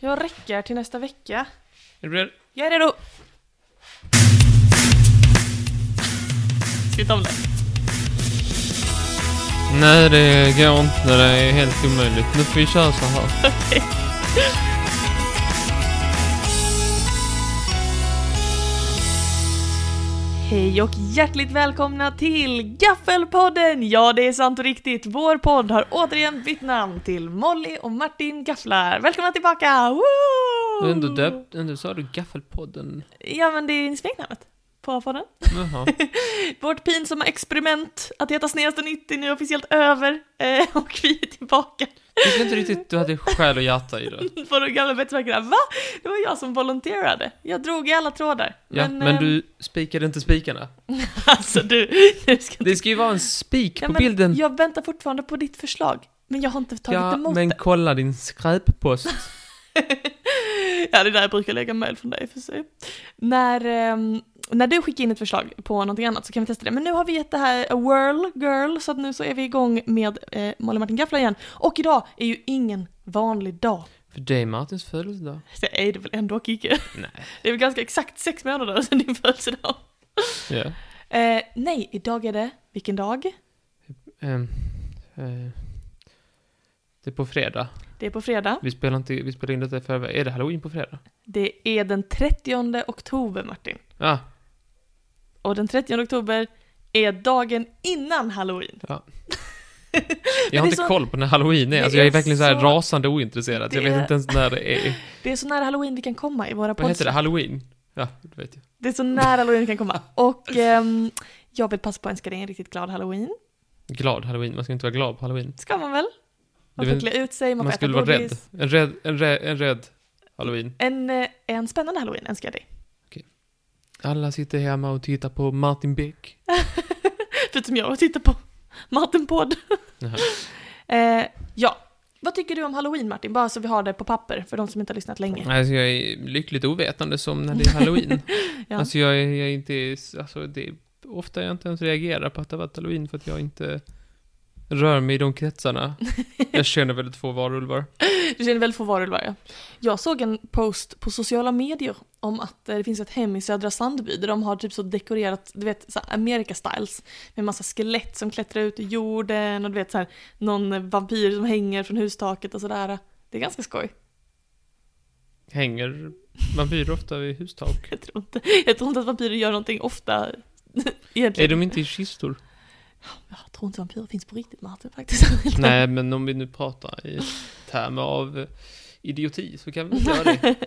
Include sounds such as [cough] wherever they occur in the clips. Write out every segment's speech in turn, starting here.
Jag räcker till nästa vecka. Är du beredd? Jag är redo! Sitt av det. Nej, det går inte. Det är helt omöjligt. Nu får vi köra så här. [laughs] Hej och hjärtligt välkomna till Gaffelpodden! Ja, det är sant och riktigt. Vår podd har återigen bytt namn till Molly och Martin Gafflar. Välkomna tillbaka! Woo! Men du döpt, ändå sa du Gaffelpodden. Ja, men det är smeknamnet på podden. Jaha. Vårt pinsamma experiment att heta Snedaste Nytt är nu officiellt över eh, och vi är tillbaka Jag tyckte inte riktigt du hade själ och hjärta [laughs] i det. på de gamla bättre Va? Det var jag som volonterade. Jag drog i alla trådar. Ja, men, eh, [laughs] du spikade inte spikarna. Alltså du, nu ska Det ska ju vara en spik Ja, på men bilden. Jag väntar fortfarande på ditt förslag, men jag har inte tagit Ja, emot men det. kolla din skräppost. [laughs] [laughs] ja, det är där jag brukar lägga mejl från dig för sig. När, ehm, när du skickar in ett förslag på någonting annat så kan vi testa det. Men nu har vi gett det här a whirl, girl, så att nu så är vi igång med eh, Molly Martin Gaffla igen. Och idag är ju ingen vanlig dag. eh, För det är Martins födelsedag. Det är det väl ändå, Kikki? Nej. [laughs] Det är väl ganska exakt sex månader sedan din födelsedag. Ja. Eh, nej, idag är det, vilken dag? Ehm, eh, det är på fredag. Det är på fredag. Vi spelar, inte, vi spelar in detta i förväg. Är det halloween på fredag? Det är den 30 oktober, Martin. Ja, Och den 30 oktober är dagen innan halloween. [laughs] jag har det är inte så- koll på när halloween är. det Alltså, jag är är verkligen så här så- rasande ointresserad. Jag Det vet är- inte ens när det [laughs] är. Det är så nära halloween vi kan komma i våra Vad heter det? poddar. Halloween? Ja, det vet jag. Det är så nära halloween vi kan [laughs] komma. Och ehm, jag vill passa på att önska dig en riktigt glad halloween. Glad halloween. Man ska inte vara glad på halloween. Ska man väl? Man Det får vet- klä ut sig, man, Man får skulle äta vara rädd. godis. En rädd, en rädd, en rädd halloween. En, eh, en spännande halloween önskar jag dig. [laughs] Alla sitter hemma och tittar på Martin Beck. Förutom jag och tittar på Martin Podd. Jaha. [laughs] Eh, ja, vad tycker du om halloween Martin? Bara så vi har det på papper för de som inte har lyssnat länge. Alltså jag är lyckligt ovetande som när det är halloween. [laughs] Ja. Alltså jag är, jag är inte, alltså det är ofta jag inte ens reagerar på att det har varit halloween för att jag inte rör mig i de [laughs] kretsarna. Jag känner väldigt få varulvar. Du känner väl för varulvar ja. Jag såg en post på sociala medier om att eh, det finns ett hem i Södra Sandby där de har typ så dekorerat, du vet, så här America styles. Med massa skelett som klättrar ut ur jorden och du vet så här, någon eh, vampyr som hänger från hustaket och sådär. Det är ganska skoj. Hänger vampyrer ofta vid hustak? Jag tror inte, jag tror inte att vampyrer gör någonting ofta. [laughs] Är Egentligen. de inte [laughs] i kistor? Jag tror inte vampyrer finns på riktigt Martin faktiskt. Nej, men om vi nu pratar i termer av eh, idioti så kan vi väl göra Mm, [laughs] det.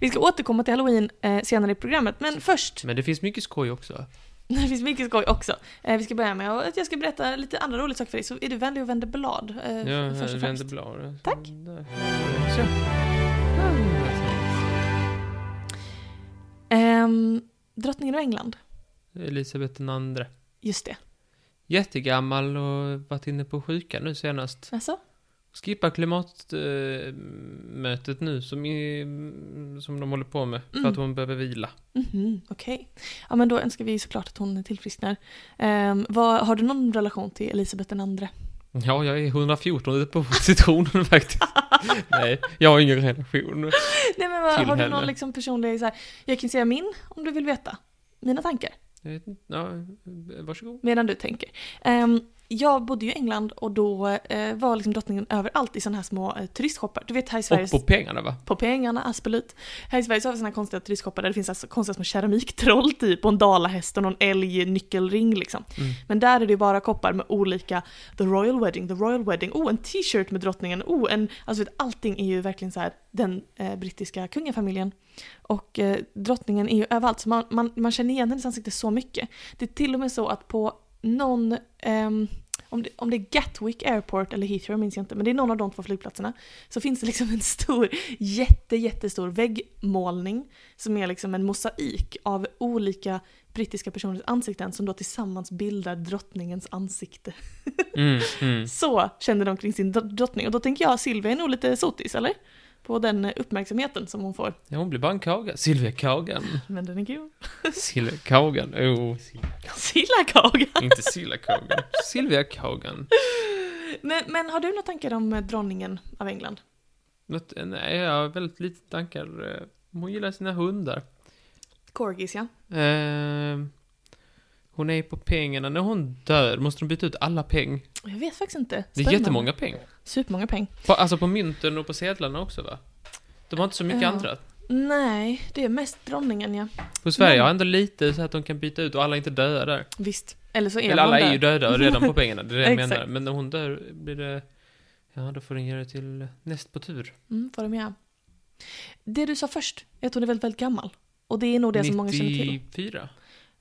Vi ska återkomma till halloween eh, senare i programmet, men först, Men det finns mycket skoj också. [laughs] det finns mycket skoj också. Eh, vi ska börja med att jag ska berätta lite andra roliga saker för dig, så är du vänlig och vänder blad. Eh, Ja, f- först här och vänder främst. bladet. Tack. Där. Så. Ehm, drottningen av England, Elisabeth den andre. just det. Jättegammal och varit inne på sjuka nu senast. Alltså, Skippa klimatmötet nu som, i, som de håller på med för Mm. att hon behöver vila. mhm, okej. Ja, men då önskar vi såklart att hon tillfrisknar. Ehm, vad, har du någon relation till Elisabeth den [laughs] andra? Ja, jag är 114 på positionen [laughs] faktiskt. Nej, jag har ingen relation. Nej men vad, Till har du henne. någon liksom personlig så här, jag kan säga min om du vill veta. Mina tankar, Jag vet inte, Ja, varsågod. medan du tänker. Ehm, jag bodde ju i England och då eh, var liksom drottningen överallt i sådana här små eh, turistshoppar. Du vet här i Sverige... Och på pengarna va? på pengarna, Aspelit. Här i Sverige så har vi såna här konstiga turistshoppar där det finns alltså konstiga små keramiktroll typ och en dalahäst och någon älg nyckelring liksom. Mm. Men där är det ju bara koppar med olika The Royal Wedding, The Royal Wedding, oh en t-shirt med drottningen, oh en, alltså vet, allting är ju verkligen så här den eh, brittiska kungafamiljen. Och eh, drottningen är ju överallt så man, man, man känner igen hennes ansikte så mycket. Det är till och med så att på någon ehm, om det, om det är Gatwick Airport eller Heathrow minns jag inte, men det är någon av de två flygplatserna. Så finns det liksom en stor, jätte, jättestor väggmålning som är liksom en mosaik av olika brittiska personers ansikten som då tillsammans bildar drottningens ansikte. Mm, mm. Så känner de kring sin dr- drottning och då tänker jag Silvia är nog lite sotis, eller? På den eh, uppmärksamheten som hon får. Ja, hon blir bara en kaga. Silvia Kagan. Men den är gul. Silvia Kagan. Oh, Silla Kaga! inte Silla Kagan. Silvia Kagan. Men, men har du några tankar om eh, dronningen av England? Något, nej, jag har väldigt lite tankar. Eh, Hon gillar sina hundar. Corgis ja. Eh, hon är på pengarna. När hon dör måste de byta ut alla peng. Jag vet faktiskt inte. Det är Spännande. jättemånga peng. Supermånga peng. På, alltså på mynten och på sedlarna också va? De har inte så mycket Ja. andra. Nej, det är mest drottningen ja. På Sverige Men- har ändå lite så att de kan byta ut och alla är inte döda där. Visst. Eller så är Eller man alla är där. ju döda redan [laughs] på pengarna, det är det jag Exakt. menar. Men när hon dör blir det... Ja, då får den ge det till näst på tur. Mm, vad de är. Det du sa först, är att hon är väldigt, väldigt gammal. Och det är nog det som många känner till. 94?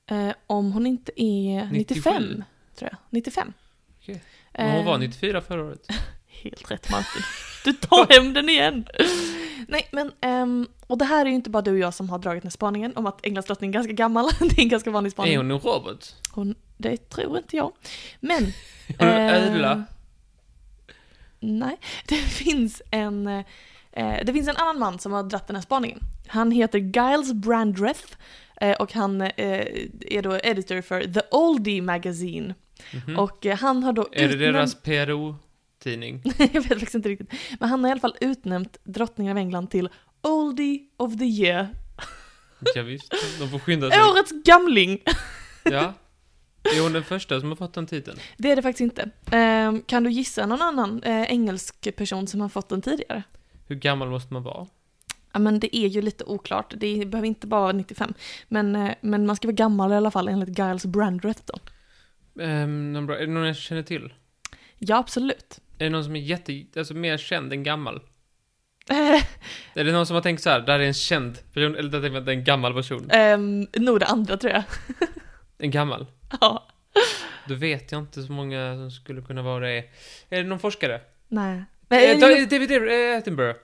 Eh, om hon inte är 95, 97. tror jag. 95. Okej. Men hon Eh, var 94 förra [laughs] året. Helt rätt Martin. Du tar hem den igen! Nej men, ehm, och det här är ju inte bara du och jag som har dragit den här spaningen om att Englands drottning är ganska gammal. [laughs] Det är en ganska vanlig spaning. Är hon en robot? Hon, det tror inte jag. Men... Hon är eh, en ödla. Nej, [laughs] det finns en... Eh, det finns en annan man som har dratt den här spaningen. Han heter Giles Brandreth eh, och han eh, är då editor för The Oldie Magazine. Mhm. Och eh, han har då Är det utnämnt- [laughs] deras PRO-tidning? jag vet faktiskt inte riktigt. Men han har i alla fall utnämnt drottningen av England till Oldie of the Year. Ja, visst. De får skynda sig. Årets gamling! Ja. Är hon den första som har fått den titeln? Det är det faktiskt inte. Ehm, kan du gissa någon annan eh, engelsk person som har fått den tidigare? Hur gammal måste man vara? Ja men det är ju lite oklart, det är- behöver inte bara vara 95. Men, eh, men man ska vara gammal i alla fall enligt Giles Brandreth då. Ehm, någon bra, är det någon jag känner till? Ja absolut. [laughs] Är det någon som är jätte, alltså mer känd än gammal? Eh, Är det någon som har tänkt så här, där är en känd person, eller där är det en gammal person? ehm, nog det andra tror jag. [laughs] En gammal? ja. Då vet jag inte så många som skulle kunna vara det. Är det någon forskare? Nej. Eh, Nej, Da- David eh, Attenborough.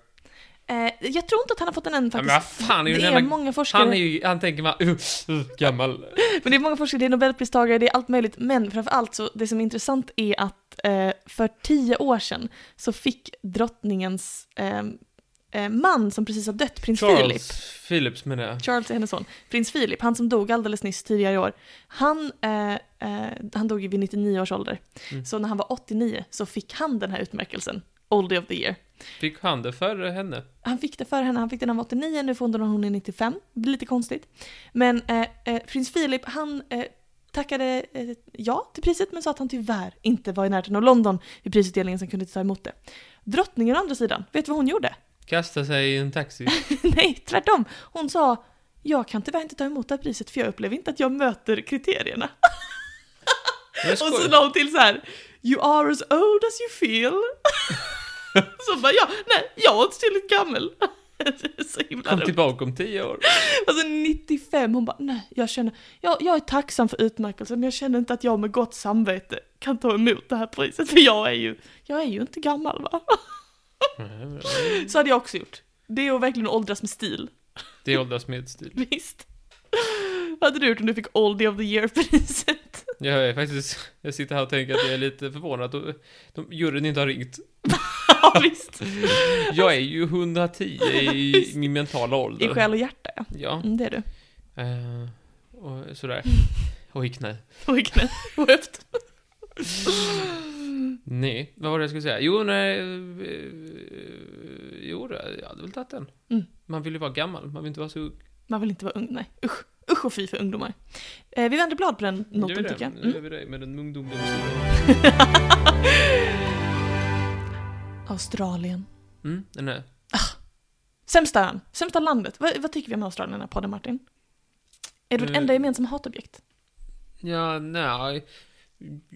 eh, jag tror inte att han har fått den än Ja, men faktiskt. vad fan, är ju det den är jävla- många forskare. Han är ju, han tänker man, uh, uh, gammal. Men det är många forskare, det är nobelpristagare, det är allt möjligt. Men framförallt så, det som är intressant är att eh, för tio år sedan så fick drottningens eh, eh, man som precis har dött, prins Philip, Charles Philips menar jag. Charles är hennes son, prins Philip, han som dog alldeles nyss tidigare i år, han, eh, eh, han dog ju vid 99 års ålder. Mm. Så när han var 89 så fick han den här utmärkelsen, Oldie of the year. Fick han det före henne? Han fick det för henne, han fick den när han var 89, nu får hon den när hon är 95. Det blir lite konstigt. Men eh, eh, prins Philip, han eh, tackade eh, ja till priset men sa att han tyvärr inte var i närheten av London vid prisutdelningen som kunde ta emot det. Drottningen å andra sidan, vet du vad hon gjorde? Kasta sig i [laughs] en taxi. Nej, tvärtom! Hon sa jag kan tyvärr inte ta emot det här priset för jag upplever inte att jag möter kriterierna. Jag Och så skojar. la hon till så här You are as old as you [laughs] feel. så bara ja, nej, jag är inte tillräckligt gammal. [laughs] Det är så himla Kom dumt. tillbaka om tio år. Alltså 95, hon bara nej, jag känner, jag, jag är tacksam för utmärkelsen men jag känner inte att jag med gott samvete kan ta emot det här priset för jag är ju, jag är ju inte gammal va? Mm. Så hade jag också gjort. Det är att verkligen åldras med stil, Det åldras med stil. [laughs] visst? Vad hade du gjort om du fick Oldie of the Year-priset? [laughs] Jag är faktiskt, jag sitter här och tänker att jag är lite förvånad att de- de, juryn inte har ringt. ja visst, Jag är ju 110 i min mentala ålder. i själ och hjärta ja. Ja. Mm, det är du. Eh, [laughs] och sådär. Och i knä. Och i knä och höft. Nej, vad var det jag skulle säga? Jo, nej... eh, Jo, jag hade väl tagit den. Mm. Man vill ju vara gammal, man vill inte vara så ung. Man vill inte vara ung, nej usch. Usch och fy för ungdomar. Eh, vi vänder blad på den Nu gör vi noten det. tycker jag. Nu Mm. gör vi det med den ungdomliga Australien. Mm, den är. Sämsta ön, sämsta landet. Vad, vad tycker vi om Australien i den här podden Martin? Är det vårt Eh. enda gemensamma hatobjekt? Ja, nej.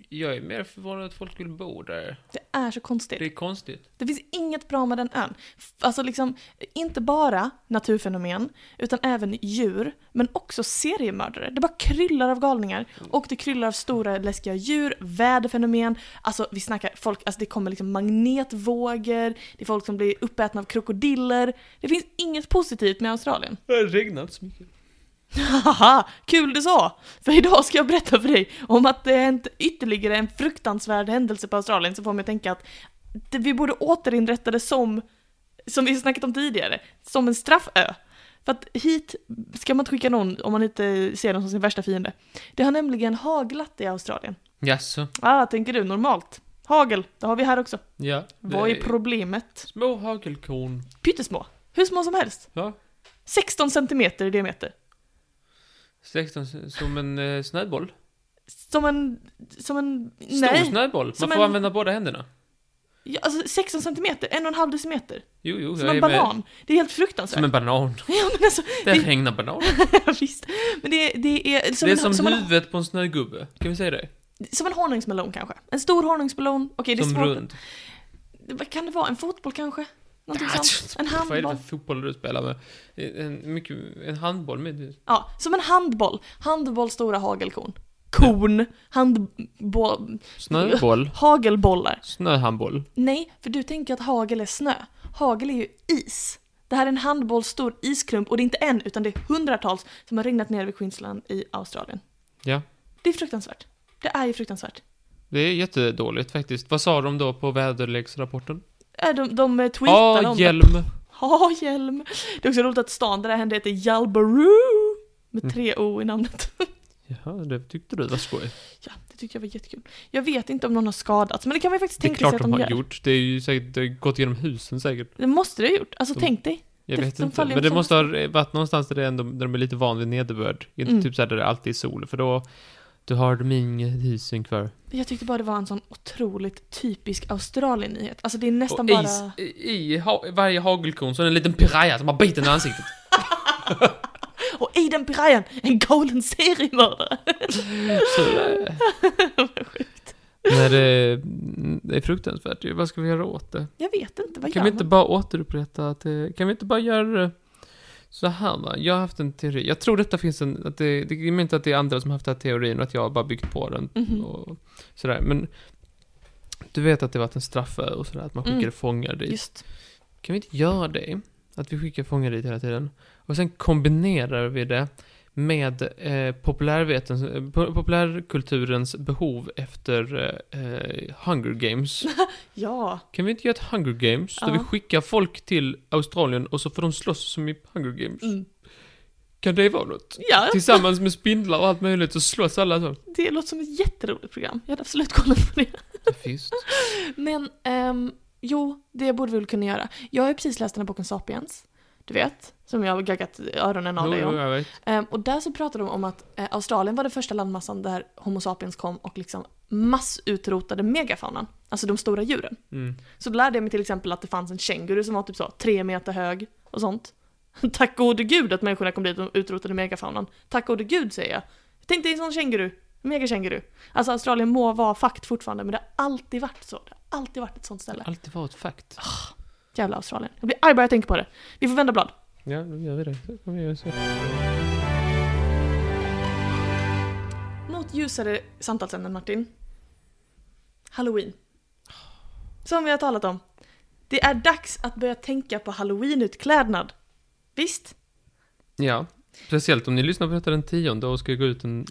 Jag är mer förvånad att folk vill bo där. Det är så konstigt. Det är konstigt. Det finns inget bra med den ön. F- Alltså liksom, inte bara naturfenomen, utan även djur, men också seriemördare. Det bara kryllar av galningar. Och det kryllar av stora läskiga djur, väderfenomen, alltså vi snackar folk, alltså det kommer liksom magnetvågor, det är folk som blir uppätna av krokodiller. Det finns inget positivt med Australien. Det har regnat så mycket. Haha, kul du sa! För idag ska jag berätta för dig om att det har hänt ytterligare en fruktansvärd händelse på Australien som får mig att tänka att det- vi borde återinrätta det som, som vi snackat om tidigare, som en straffö. För att hit ska man inte skicka någon om man inte ser dem som sin värsta fiende. Det har nämligen haglat i Australien. Jaså? Ah, tänker du normalt? Hagel, det har vi här också. Ja. det Vad är är problemet? Små hagelkorn. Pyttesmå. Hur små som helst. Ja. 16 centimeter i diameter. 16 s- som en eh, snöboll. Som en... Som en... Stor nej. snöboll. Man Som får en- använda båda händerna. Ja, alltså 16 centimeter, en och en halv decimeter. Jo, jo, Som jag en är med. banan. Det är helt fruktansvärt. Som en banan. [laughs] Ja men alltså, [laughs] Det Det- regnar banan. visst. Men det, det är som, det är en, som, som, en, huvudet på en snögubbe. Kan vi säga det? som en honungsmelon kanske. En stor honungsmelon. Okej, det är som svårt. rund. Vad Kan det vara en fotboll kanske? Någonting Ah, sånt. En Vad är det handboll. för fotboll du spelar med? En, mycket, en handboll med... Ja, som en handboll. Handboll, stora hagelkorn. Korn. Handboll. Snöboll. Hagelbollar. Snöhandboll. Nej, för du tänker att hagel är snö. Hagel är ju is. Det här är en handboll stor isklump och det är inte en utan det är hundratals som har regnat ner över Queensland i Australien. Ja. Det är fruktansvärt. Det är ju fruktansvärt. Det är jättedåligt faktiskt. Vad sa de då på väderleksrapporten? Äh, De, de eh, tweetar Ja, om det. hjälm. Ha hjälm. Det är också roligt att stan där det här hände heter Jalbaroo. Mm. Med tre O i namnet. [laughs] Jaha, det tyckte du var skoj. Ja, det tyckte jag var jättekul. Jag vet inte om någon har skadats, men det kan man ju faktiskt Det är tänka sig klart liksom att de de har gör. gjort. Det är ju säkert det har gått genom husen säkert. Det måste det ha gjort. Alltså De- tänk dig. Jag Det- vet de inte. faller ju Men det som- måste ha varit någonstans där, det ändå, där de är lite van vid nederbörd. Inte Mm. typ så här där det alltid är sol, för då, då har de inget husen kvar. Jag tyckte bara det var en sån otroligt typisk Australien-nyhet. Alltså det är nästan Och bara... is, i, i ha, varje hagelkorn så är det en liten piraya som har biten i ansiktet. Och Aiden Pirayan, en galen seriemördare! [laughs] Så det, Nej, det, det är fruktansvärt ju. Vad ska vi göra åt det? Jag vet inte, vad Kan gör vi man? inte bara återupprätta att det, Kan vi inte bara göra det så här va? Jag har haft en teori. Jag tror detta finns en... Att det, det är inte att det är andra som har haft den här teorin och att jag har bara byggt på den. Mhm. Och sådär. Men du vet att det varit en straffö och sådär, att man skickade Mm. fångar dit. Just. Kan vi inte göra det? Att vi skickar fångar dit hela tiden. Och sen kombinerar vi det med eh, populärvetens, eh, po- populärkulturens behov efter eh, eh, [laughs] Hunger Games. Ja. Kan vi inte göra ett Hunger Games där Ja. vi skickar folk till Australien och så får de slåss som i Hunger Games? Mm. Kan det vara något? Ja, Tillsammans med spindlar och allt möjligt så slåss alla så. det låter som ett jätteroligt program. Jag hade absolut kollat på det. Visst. Men, ehm, jo, det borde vi väl kunna göra. Jag har ju precis läst den här boken Sapiens, du vet, som jag har gaggat öronen av Jo, dig jo, om. jag vet. Ehm, och där så pratade de om att eh, Australien var den första landmassan där Homo sapiens kom och liksom massutrotade megafaunan, alltså de stora djuren. Mm. Så då lärde jag mig till exempel att det fanns en känguru som var typ så tre meter hög och sånt. [laughs] Tack gode gud att människorna kom dit och utrotade megafaunan. Tack gode gud säger jag. Tänk dig en sån känguru. en Megakänguru. Alltså Australien må vara fakt fortfarande men det har alltid varit så. Det har alltid varit ett sånt ställe. Alltid varit fakt. Jävla Australien. Jag blir arg bara jag tänker på det. Vi får vända blad. Ja, då gör vi det. Så kan vi göra så. Något ljusare samtalsämnen Martin. Halloween. Som vi har talat om. Det är dags att börja tänka på halloweenutklädnad. Visst? Ja. Speciellt om ni lyssnar på detta den tionde och ska gå [laughs] ut den...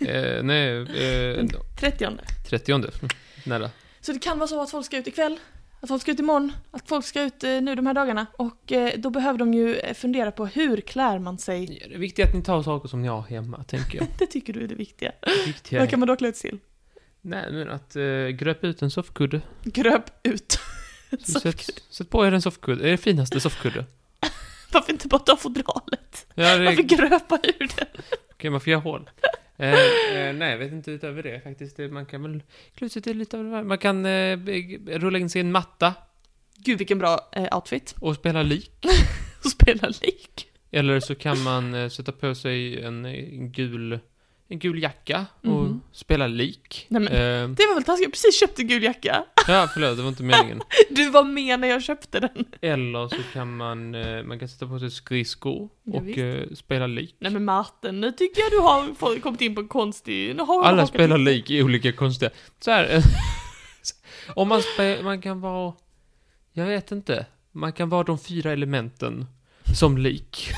Eh, nej, eh, 30 trettionde. Mm, Nära. Så det kan vara så att folk ska ut ikväll, att folk ska ut imorgon, att folk ska ut eh, nu de här dagarna. Och eh, då behöver de ju eh, fundera på hur klär man sig. Ja, det är viktigt att ni tar saker som ni har hemma, [laughs] tänker jag. Det tycker du är det viktiga. Det viktiga Vad är... kan man då klä ut sig till? Nej, men att eh, gröpa ut en soffkudde. Gröp ut. [laughs] Så Sätt, sätt på er en soffkudde. Det är det [laughs] finaste soffkudde. Varför inte bara ta fodralet? Ja, det Varför är... gröpa ur det? Okej, man får [laughs] göra hål. Eh, eh, nej, jag vet inte utöver det faktiskt. Det- Man kan väl klä ut sig till lite av det här. Man kan eh, b- rulla in sig i en matta Gud vilken bra eh, outfit. och spela lik. Och spela lik. Eller så kan man eh, sätta på sig en, eh, en gul en gul jacka och Mhm. spela lik. Nej, men- Eh, Det var väl taskigt, jag precis köpte gul jacka. [laughs] ja, förlåt, det var inte meningen. Du var med när jag köpte den. Eller så kan man, eh, man kan sätta på sig skridskor Ja, och visst. eh, spela lik. Nej men Martin, nu tycker jag du har fått- kommit in på en konstig... Nu har du Alla hakat spelar in. lik i olika konstiga... Så här, [laughs] eh, om man, spe, man kan vara... Jag vet inte. Man kan vara de fyra elementen som lik.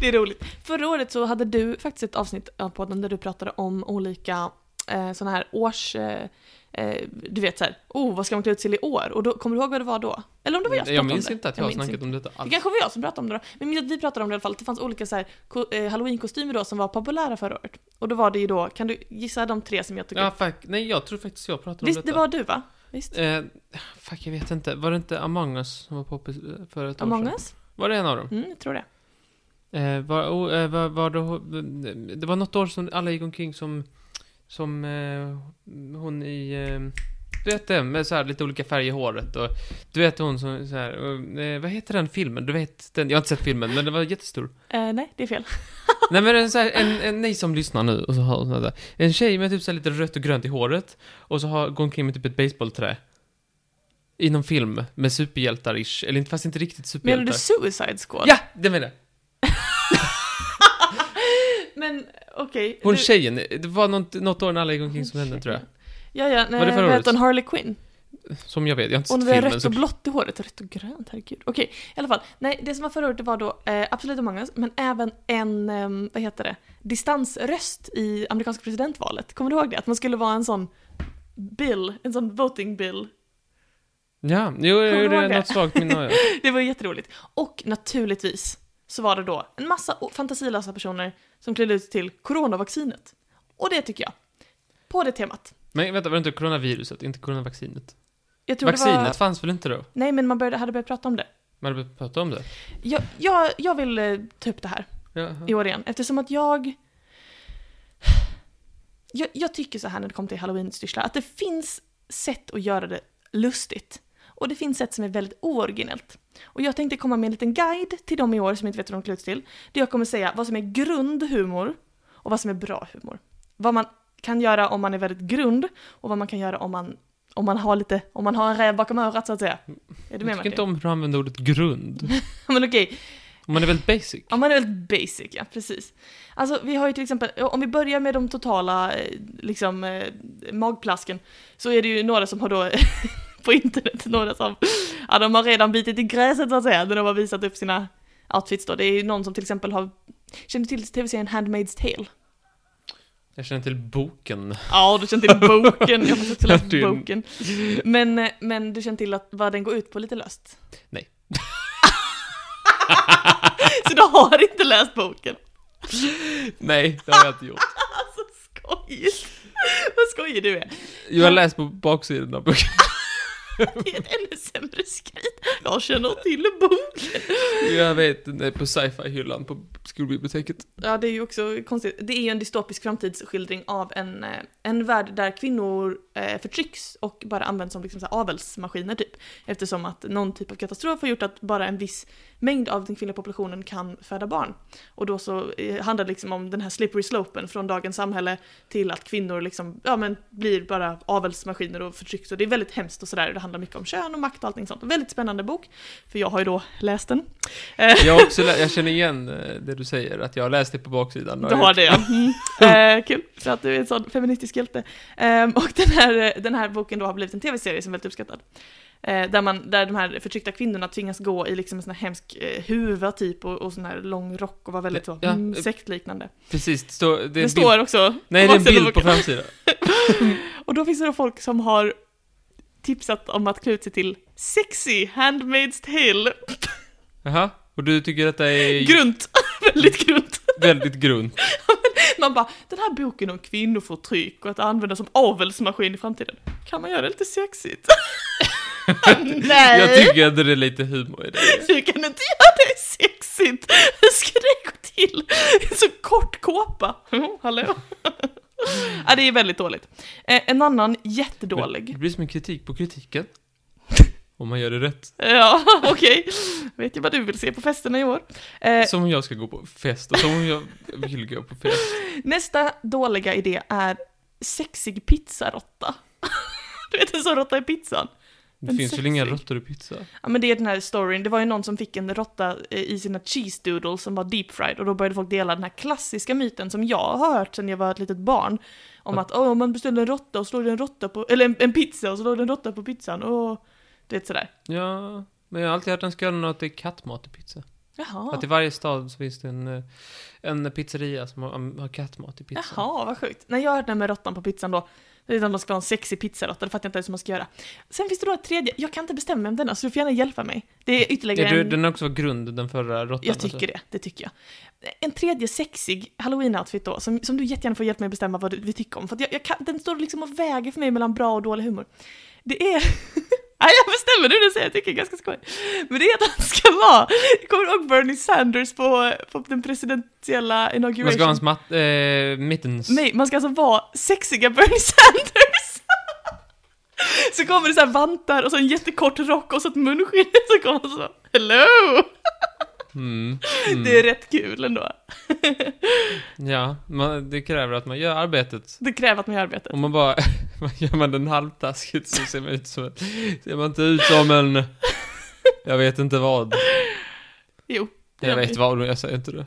Det är roligt. Förra året så hade du faktiskt ett avsnitt av podden där du pratade om olika eh, såna här års... Eh, eh, du vet så här, oh vad ska man klä ut sig i år? Och då, kommer du ihåg vad det var då? Eller om det var jag som jag pratade minns om det? inte att jag, har minns snackat inte. om detta Det alls. kanske var jag som pratade om det då. Men minns att vi pratade om det i alla fall. att Det fanns olika så här, ko- eh, halloween-kostymer då som var populära förra året. Och då var det ju då, kan du gissa de tre som jag tog Ja, upp? fuck. Nej, jag tror faktiskt jag pratade om Visst, det detta. var du va? Visst? Eh, fuck, jag vet inte. Var det inte Among Us som var poppis eh, för ett år Among sedan? us? Var det en av dem? Mm, jag tror det. Eh, var, oh, eh, var, var det, det var något år som alla gick omkring som, som eh, hon i, eh, du vet det, med så här lite olika färger i håret och du vet hon som så här, eh, vad heter den filmen? Du vet den, jag har inte sett filmen men den var jättestor. Eh, nej, det är fel. Nej men en, så här, en, en, ni som lyssnar nu och så har hon sådär, en tjej med typ så här lite rött och grönt i håret och så har, går omkring med typ ett baseballträ. I någon film med superhjältar-ish, eller inte- fast inte riktigt Menar superhjältar. du Suicide Squad? Ja, det menar jag! Men okej. Hon du- tjejen, det var något, något år när alla gick omkring som hände tror jag. Ja, ja, nej, Var det förra vad året? heter hon? Harley Quinn? Som jag vet, jag har inte Hon sett var filmen. typ. rött så- och blått i håret, rött och grönt, herregud. Okej, i alla fall. Nej, det som var förra året det var då eh, absolut Among Us, men även en, ehm, vad heter det, distansröst i amerikanska presidentvalet. Kommer du ihåg det? Att man skulle vara en sån bill, en sån voting bill. Ja, jo, Kommer jag du gjorde ihåg det? något svagt minne har jag. Det var ju jätteroligt. Och naturligtvis så var det då en massa o- fantasilösa personer som klädde ut sig till coronavaccinet. Och det tycker jag. På det temat. Men vänta, var det inte coronaviruset? Inte coronavaccinet? Jag tror Vaccinet det var... fanns väl inte då? Nej, men man började, hade börjat prata om det. Man hade pratat om det? Jag, jag, jag vill eh, ta upp det här. Jaha. i år igen. Eftersom att jag... Jag, jag tycker så här när det kommer till halloweenstyrslar, att det finns sätt att göra det lustigt. Och det finns sätt som är väldigt ooriginellt. Och jag tänkte komma med en liten guide till dem i år som inte vet hur de klär ut sig till. Där jag kommer säga vad som är grundhumor och vad som är bra humor. Vad man kan göra om man är väldigt grund och vad man kan göra om man, om man har lite, om man har en räv bakom örat så att säga. Är du Jag med tycker Martin? inte om hur du använder ordet grund. [laughs] Men okej, Man är väldigt basic. Ja, man är väldigt basic, ja precis. Alltså vi har ju till exempel, om vi börjar med de totala eh, liksom eh, magplasken, så är det ju några som har då [laughs] på internet, några som, ja de har redan bitit i gräset så att säga, när de har visat upp sina outfits då. Det är ju någon som till exempel har, känner du till tv-serien Handmaid's Tale? Jag känner till boken. Ja, du känner till boken, jag har faktiskt [laughs] läst Det är en- boken. Men, eh, men du känner till att, vad den går ut på lite löst? Nej. [laughs] så du har inte läst boken? Nej, det har jag inte gjort. [laughs] Alltså skojigt! Vad skojig du är! Jag har läst på baksidan av boken. Det är ett ännu sämre skryt. Jag känner till bok. [laughs] Jag vet, den är på sci-fi-hyllan på skolbiblioteket. Ja, det är ju också konstigt. Det är ju en dystopisk framtidsskildring av en, eh, en värld där kvinnor eh, förtrycks och bara används som liksom så här avelsmaskiner typ. Eftersom att någon typ av katastrof har gjort att bara en viss mängd av den kvinnliga populationen kan föda barn. Och då så eh, handlar det liksom om den här slippery slopen från dagens samhälle till att kvinnor liksom, ja men blir bara avelsmaskiner och förtrycks och det är väldigt hemskt och sådär. Det handlar mycket om kön och makt och allting sånt. Väldigt spännande bok, för jag har ju då läst den. Eh, Jag, har också lä- jag känner igen eh, det du säger, att jag har läst det på baksidan. Du har det ja. Mm. [laughs] Eh, kul, för att du är en sån feministisk hjälte. Ehm, och den här, den här boken då har blivit en tv-serie som är väldigt uppskattad. Eh, där, man, där de här förtryckta kvinnorna tvingas gå i liksom en sån här hemsk eh, huva typ och, och sån här lång rock och vara väldigt så, Ja, mm, eh, sektliknande. Precis, det står... Det, är en Det, bild- står också på Nej, det är en baksidan av bild på boken. framsidan. Och då finns det då folk som har tipsat om att klä ut sig till Sexy Handmaid's Tale. Jaha, och du tycker [laughs] detta är Grunt! väldigt grunt. väldigt grund. Man bara, den här boken om kvinnoförtryck och att använda som avelsmaskin i framtiden, kan man göra det lite [laughs] sexigt? Nej! Jag tycker att det är lite humor i det. Du kan inte göra det sexigt! Hur ska det gå till? En så kort kåpa! Jo, Hallå? [laughs] ja, det är väldigt dåligt. Eh, en annan Men jättedålig. Det blir som en kritik på [laughs] kritiken. Om man gör det rätt. Ja, [laughs] okej. Vet ju vad du vill se på festerna i år. Eh, Som om jag ska gå på fest och som om jag vill gå på fest. Nästa dåliga idé är sexig pizzarotta. [laughs] du vet en sån råtta i pizzan. Det Men finns väl inga sexig. råttor i pizza? Ja men det är den här storyn, det var ju någon som fick en råtta eh, i sina cheese doodles som var deep fried och då började folk dela den här klassiska myten som jag har hört sedan jag var ett litet barn. Om att åh, om man beställer en råtta och slår det en råtta på, eller en, en pizza och så slår det en råtta på pizzan och du vet sådär. Ja, men jag har alltid hört en skåning att det är kattmat i pizza. Jaha. Att i varje stad så finns det en, eh, en pizzeria som har, har kattmat i pizzan. Jaha, vad sjukt. När jag hörde det här med råttan på pizzan då, det är att man ska ha en sexig pizzaråtta, det fattar jag inte ens hur man ska göra. Sen finns det då ett tredje, jag kan inte bestämma mig om denna, så du får gärna hjälpa mig. Det är ytterligare Ja, du, en... den också var grund, den förra råttan. alltså? Jag tycker det, det tycker jag. En tredje sexig halloween-outfit då, som, som du jättegärna får hjälpa mig bestämma vad du, vi tycker om. För att jag, jag kan, den står liksom och väger för mig mellan bra och dålig humor. Det är... [laughs] Nej, jag bestämmer nu, det säger jag, jag tycker det är ganska skoj. Men det är att han ska vara... Kommer du ihåg Bernie Sanders på, på den presidentiella Man ska ha inauguration? hans matt, eh, mittens. Nej, man ska alltså vara sexiga Bernie [laughs] Sanders! så kommer det så här vantar och så en jättekort rock och så ett munskydd, så kommer han så... Hello! [laughs] Mm, mm. Det är rätt kul ändå. Ja, man, det kräver att man gör arbetet. Det kräver att man gör arbetet. Om man bara, [laughs] gör man den halvtaskigt så ser man ut som en, ser man inte ut som en, jag vet inte vad. Jo. det Jag gör vet vi. vad, men jag säger inte det.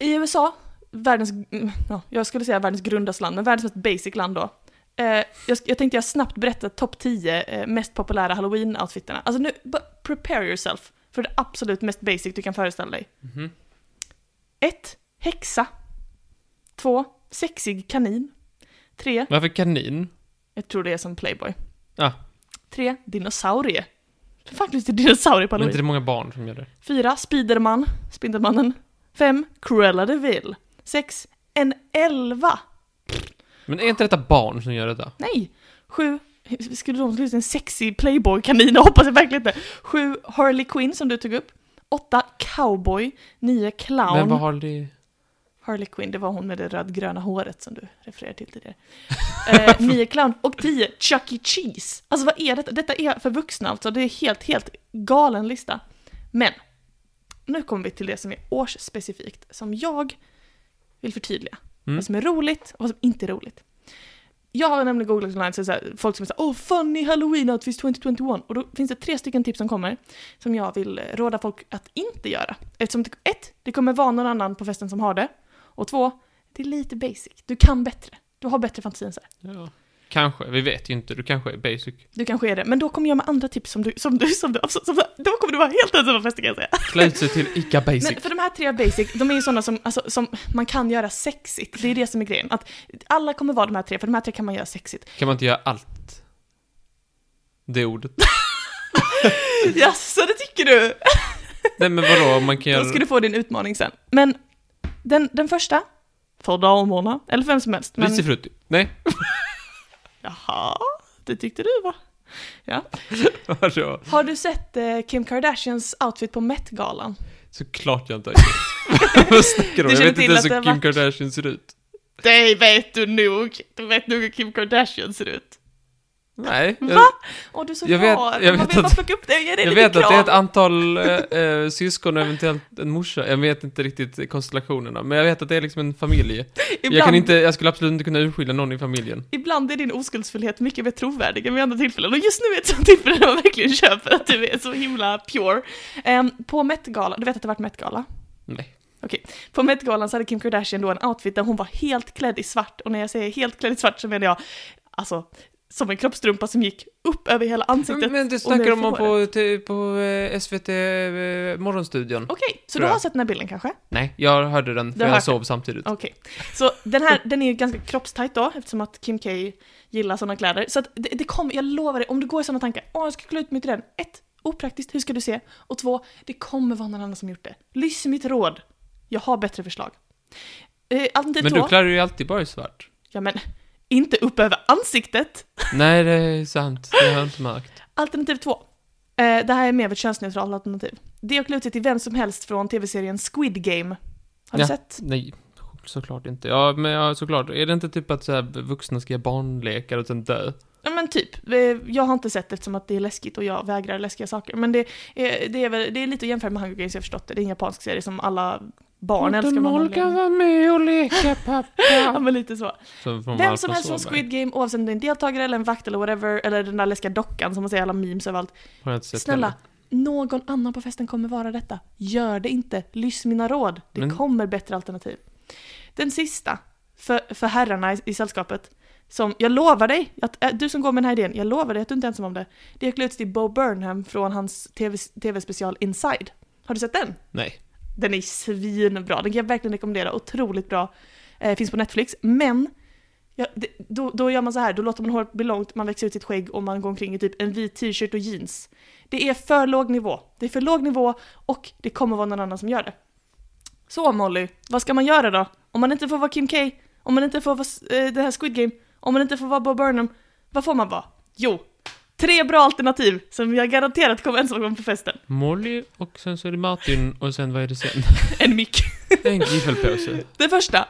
I USA, världens, mm, ja, jag skulle säga världens grundaste land, men världens mest basic land då. Eh, jag, jag tänkte jag snabbt berätta topp 10 eh, mest populära halloween-outfitterna. Alltså nu, bara prepare yourself för det absolut mest basic du kan föreställa dig. Mhm. 1. Häxa. 2. Sexig kanin. 3. Varför kanin? Jag tror det är som Playboy. Ja. 3. Dinosaurie. Det är faktiskt dinosaurie på Men halloween. inte det är många barn som gör det. 4. Spiderman, Spindelmannen. 5. Cruella de Vil. 6. En elva. Men är inte detta barn som gör detta? Nej! 7. Skulle de sluta en sexy playboy-kanin? [laughs] Jag hoppas jag verkligen inte. 7. Harley Quinn som du tog upp. 8. Cowboy. 9. Men Clown. vad har det... Harley Quinn, det var hon med det rödgröna håret som du refererade till tidigare. [laughs] Eh, 9. Clown. Och 10. Chuck E. Cheese. Alltså vad är detta? Detta är för vuxna alltså. Det är helt, helt galen lista. Men nu kommer vi till det som är årsspecifikt, som jag vill förtydliga. Mm. Vad som är roligt och vad som inte är roligt. Jag har nämligen googlat online, så är det så här, folk som är såhär “Oh, funny halloween outfits 2021” och då finns det tre stycken tips som kommer som jag vill eh, råda folk att inte göra. Eftersom det, ett, det kommer vara någon annan på festen som har det. Och två, det är lite basic. Du kan bättre. Du har bättre fantasi än så här. Ja. Kanske, vi vet ju inte. Du kanske är basic. Du kanske är det, men då kommer jag med andra tips som du, som du, som du, alltså, som, som, då kommer du vara helt ensam på festen kan jag säga. Klä ut sig till ICA basic. Nej, för de här tre basic, de är ju sådana som, alltså, som man kan göra sexigt. Det är det som är grejen. Att alla kommer vara de här tre, för de här tre kan man göra sexigt. Kan man inte göra allt? Det ordet. Jaså, det tycker du? Nej men vadå, man kan Då göra... ska du få din utmaning sen. Men den, den första, för damerna, eller för vem som helst. Men, Risifrutti. Nej, jaha, det tyckte du va? vadå? Har du sett eh, Kim Kardashians outfit på Met-galan? Såklart jag inte har gjort. [laughs] Vad snackar du om? Du Jag känner vet inte till ens att hur det har Kim Kardashian ser ut. Det vet du nog! Du vet nog hur Kim Kardashian ser ut. Nej. Va? Jag, Åh, du är så Jag vet- rar. jag Man vet vill att- bara plocka upp det och ge dig jag lite vet att det är kram. ett antal äh, äh, syskon och eventuellt en morsa. Jag vet inte riktigt konstellationerna. Men jag vet att det är liksom en familj. Jag, kan Ibland- inte, jag skulle absolut inte kunna urskilja någon i familjen. Ibland är din oskuldsfullhet mycket mer trovärdig än vid andra tillfällen och just nu är ett sånt tillfälle där man verkligen köper att du är så himla pure. Ehm, på Met-gala, du vet att det varit Met-gala? Nej. På Met-galan så hade Kim Kardashian då en outfit där hon var helt klädd i svart och när jag säger helt klädd i svart så menar jag alltså som en kroppstrumpa som gick upp över hela ansiktet. Men det snackar snackar om man man på- på, på eh, SVT eh, Morgonstudion. Okej, så Tror du jag. har sett den här bilden kanske? Nej, jag hörde den Du för har hört jag sov samtidigt. Okej. Så den här, den är ju ganska kroppstajt då, eftersom att Kim K gillar sådana kläder. Så att det, det kommer, jag lovar dig, om du går i sådana tankar, åh jag ska klä ut mig till den. Ett, opraktiskt, hur ska du se? Och två, det kommer vara någon annan som gjort det. Lyssna mitt råd. Jag har bättre förslag. Eh, alternativ Men du två, klär dig ju alltid bara i svart. ja men, inte upp över ansiktet. Nej, det är sant. Det har jag inte märkt. Alternativ två. Eh, det här är mer av ett könsneutralt alternativ. Det är att klä ut sig till vem som helst från tv-serien Squid Game. Har du Ja. sett? Nej, såklart inte. Ja, men ja, såklart. Är det inte typ att så här, vuxna ska göra barnlekar och sen dö? Ja men typ. Eh, Jag har inte sett eftersom att det är läskigt och jag vägrar läskiga saker. Men det är, det är, väl, det är lite att jämföra med Hunger Games, jag har förstått det. Det är en japansk serie som alla barn älskar. man anledning. vara med och leka Ja pappa. men lite så. Vem som helst från Squid Game, oavsett om det är en deltagare eller en vakt eller whatever, eller den där läskiga dockan som man ser i alla memes överallt. Har jag inte sett Snälla, heller. någon annan på festen kommer vara detta. Gör det inte. Lyssna mina råd. Det Men- kommer bättre alternativ. Den sista, för, för herrarna i, i sällskapet, som jag lovar dig, att, äh, du som går med den här idén, jag lovar dig att du inte är ensam om det. Det är klä ut sig till Bo Burnham från hans TV, tv-special Inside. Har du sett den? Nej. Den är svinbra, den kan jag verkligen rekommendera, otroligt bra. Eh, finns på Netflix, men ja, det, då, då gör man så här, då låter man håret bli långt, man växer ut sitt skägg och man går omkring i typ en vit t-shirt och jeans. Det är för låg nivå, det är för låg nivå och det kommer vara någon annan som gör det. Så Molly, vad ska man göra då? Om man inte får vara Kim K, om man inte får vara eh, det här Squid Game, om man inte får vara Bob Burnham, vad får man vara? Jo, tre bra alternativ som jag garanterat kommer ensam gå på festen. Molly och sen så är det Martin och sen vad är det sen? [laughs] En mick. [laughs] En giffelpåse. Det första.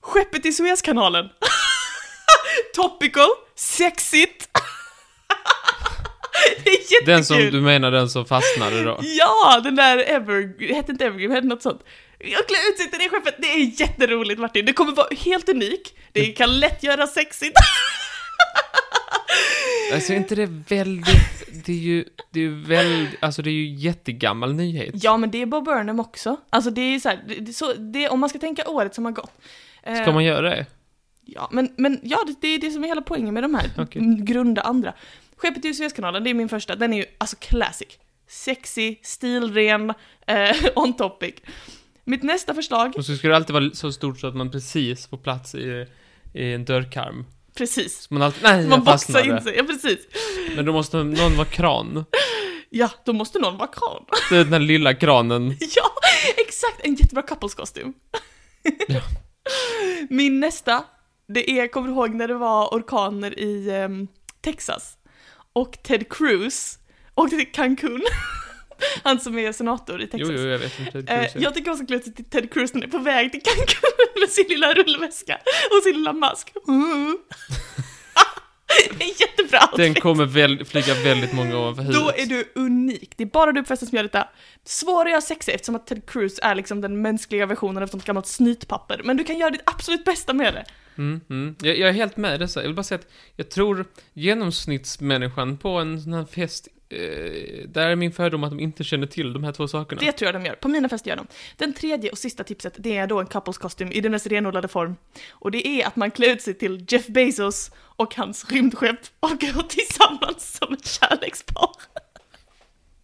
Skeppet i Suezkanalen. [laughs] Topical, sexigt. [laughs] det är jättekul. Den som du menar, den som fastnade då? Ja, den där Evergreen, hette inte Evergreen, hette något sånt. Jag klär ut sig till det skeppet, det är jätteroligt Martin. Det kommer vara helt unik. Det kan lätt göra sexigt. Alltså är inte det väldigt, det är ju, det är ju väldigt, alltså det är ju jättegammal [laughs] nyhet. Ja, men det är Bob Burnham också. Alltså det är så här, det, det, så, det, om man ska tänka året som har gått. Eh, Ska man göra det? Ja, men, men ja, det, det är det som är hela poängen med de här [laughs] Okej. m- grunda andra. Skeppet i Suezkanalen, det är min första, den är ju alltså classic. Sexy, stilren, eh, [laughs] on topic. Mitt nästa förslag, Och så ska det alltid vara så stort så att man precis får plats i, i en dörrkarm. precis. Så man alltid, nej Man jag boxar in fastnade. sig, ja precis. Men då måste någon vara kran. Ja, då måste någon vara kran. Det är Den här lilla kranen. [laughs] ja, exakt, en jättebra coupleskostym. Ja. [laughs] Min nästa, det är, kommer du ihåg när det var orkaner i ehm, Texas? Och Ted Cruz åkte till Cancun. [laughs] Han som är senator i Texas. Jo, jo, jag vet inte. Det Eh, är jag tycker också att till Ted Cruz när han är på väg till Cancun med sin lilla rullväska och sin lilla mask. Mm. [laughs] det är jättebra Den outfit. kommer väl, flyga väldigt många ovanför Då huvudet. är du unik. Det är bara du på festen som gör detta. Svår att göra sexig eftersom att Ted Cruz är liksom den mänskliga versionen av ett sånt gammalt snytpapper. Men du kan göra ditt absolut bästa med det. Mm, mm. Jag, jag är helt med i dessa. Jag vill bara säga att jag tror genomsnittsmänniskan på en sån här fest, eh, där är min fördom att de inte känner till de här två sakerna. Det tror jag de gör. På mina fester gör de. Den tredje och sista tipset, det är då en coupleskostym i den mest renodlade form. Och det är att man klär ut sig till Jeff Bezos och hans rymdskepp och går tillsammans som ett kärlekspar.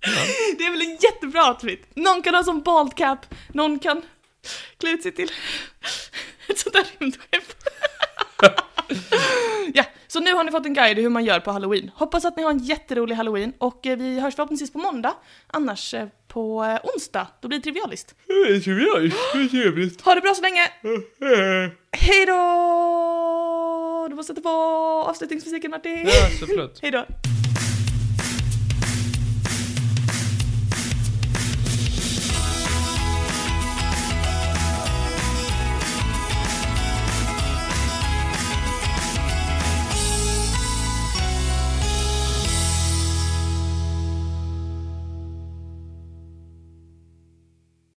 Ja. Det är väl en jättebra outfit? Någon kan ha som bald cap, någon kan klä ut sig till ett sånt där rymdskepp. ja, så nu har ni fått en guide i hur man gör på halloween. Hoppas att ni har en jätterolig halloween och eh, vi hörs förhoppningsvis på måndag. Annars eh, på eh, onsdag, då blir det trivialist. Det tror jag är trevligt. Ha det bra så länge! Hej då! Du måste sätta på avslutningsmusiken Martin! Ja, så förlåt. Hej då!